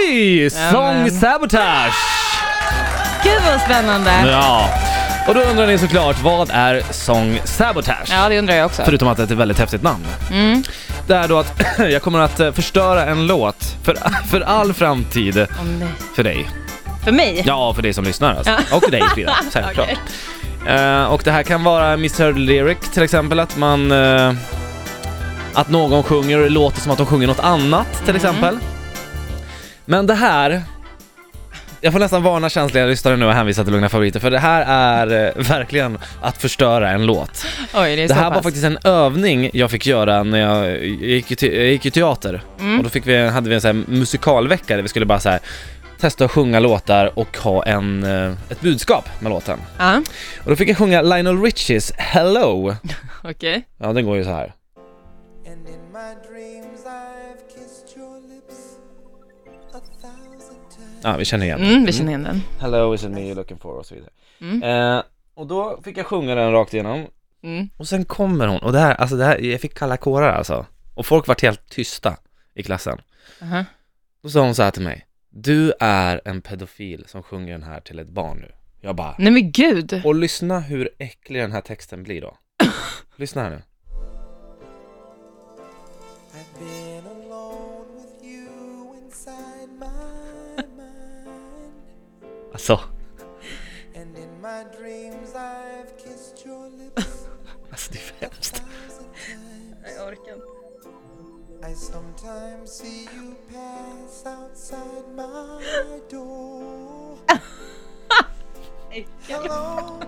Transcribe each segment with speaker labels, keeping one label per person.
Speaker 1: Oj! Song
Speaker 2: Amen.
Speaker 1: Sabotage!
Speaker 2: Gud vad spännande!
Speaker 1: Ja. Och då undrar ni såklart, vad är Song Sabotage?
Speaker 2: Ja, det undrar jag också.
Speaker 1: Förutom att det är ett väldigt häftigt namn.
Speaker 2: Mm.
Speaker 1: Det är då att jag kommer att eh, förstöra en låt för, för all framtid
Speaker 2: Åh, nej.
Speaker 1: för dig.
Speaker 2: För mig?
Speaker 1: Ja, för dig som lyssnar alltså. Och dig Frida, självklart.
Speaker 2: Okej.
Speaker 1: Eh, och det här kan vara Mr Lyric till exempel, att man... eh, att någon sjunger och det låter som att de sjunger något annat till exempel. Men det här... Jag får nästan varna känsliga lyssnare nu och hänvisa till Lugna Favoriter, för det här är eh, verkligen att förstöra en låt.
Speaker 2: Oj, det
Speaker 1: Det
Speaker 2: är så
Speaker 1: här
Speaker 2: pass.
Speaker 1: var faktiskt en övning jag fick göra när jag, jag, gick, i te, jag gick i teater.
Speaker 2: Mm.
Speaker 1: Och då fick vi, hade vi en så här musikalvecka där vi skulle bara så här testa att sjunga låtar och ha en, eh, ett budskap med låten.
Speaker 2: Ja,
Speaker 1: Och då fick jag sjunga Lionel Richies Hello.
Speaker 2: okej.
Speaker 1: Ja, den går ju så här.
Speaker 3: And in my dreams, I've kissed your lips a thousand times.
Speaker 1: Ja, vi känner igen den.
Speaker 2: Mm, vi känner igen den.
Speaker 1: Hello is it me you're looking for och så vidare. Eh, och då fick jag sjunga den rakt igenom.
Speaker 2: Mm.
Speaker 1: Och sen kommer hon, och det här, alltså det här, jag fick kalla kårar alltså. Och folk vart helt tysta i klassen.
Speaker 2: Aha.
Speaker 1: Då sa hon så här till mig, du är en pedofil som sjunger den här till ett barn nu. Jag bara,
Speaker 2: Nej men gud!
Speaker 1: och lyssna hur äcklig den här texten blir då. Lyssna här nu.
Speaker 3: I've been alone with you inside my mind.
Speaker 1: Alltså,
Speaker 3: And in my dreams, I've kissed your lips
Speaker 1: alltså det är för
Speaker 3: a
Speaker 1: hemskt.
Speaker 3: thousand times.
Speaker 2: Jag orkar inte.
Speaker 3: I sometimes see you pass outside my door. Hello.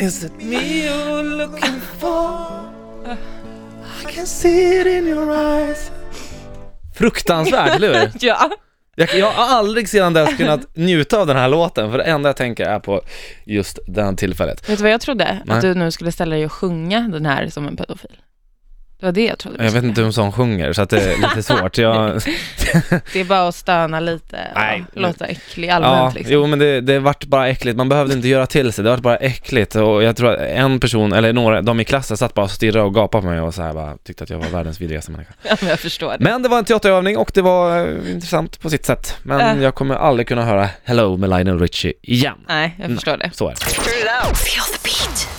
Speaker 1: Is it me you're looking for? I can see it in your eyes. Fruktansvärt, eller hur?
Speaker 2: Ja,
Speaker 1: Jag, jag har aldrig sedan dess kunnat njuta av den här låten, för det enda jag tänker är på just den tillfället.
Speaker 2: vet du vad jag trodde?
Speaker 1: Nej.
Speaker 2: Att du nu skulle ställa dig och sjunga den här som en pedofil. Det var det jag trodde. du
Speaker 1: Jag vet
Speaker 2: skulle.
Speaker 1: inte hur en sån sjunger, så att det är lite svårt. Jag,
Speaker 2: Det är bara att stöna lite och
Speaker 1: Nej.
Speaker 2: låta äcklig
Speaker 1: ja,
Speaker 2: allmänt liksom.
Speaker 1: jo, men det, det vart bara äckligt. Man behövde inte göra till sig, det vart bara äckligt. Och jag tror att en person, eller några, de i klassen satt bara och stirrade och gapade på mig och så här bara tyckte att jag var världens vidrigaste människa.
Speaker 2: Ja, men jag förstår.
Speaker 1: Men det var en teaterövning och det var eh, intressant på sitt sätt. Men
Speaker 2: Äh.
Speaker 1: jag kommer aldrig kunna höra Hello med Lionel Richie igen.
Speaker 2: Nej, jag förstår det.
Speaker 1: Så är det.
Speaker 4: Feel the beat.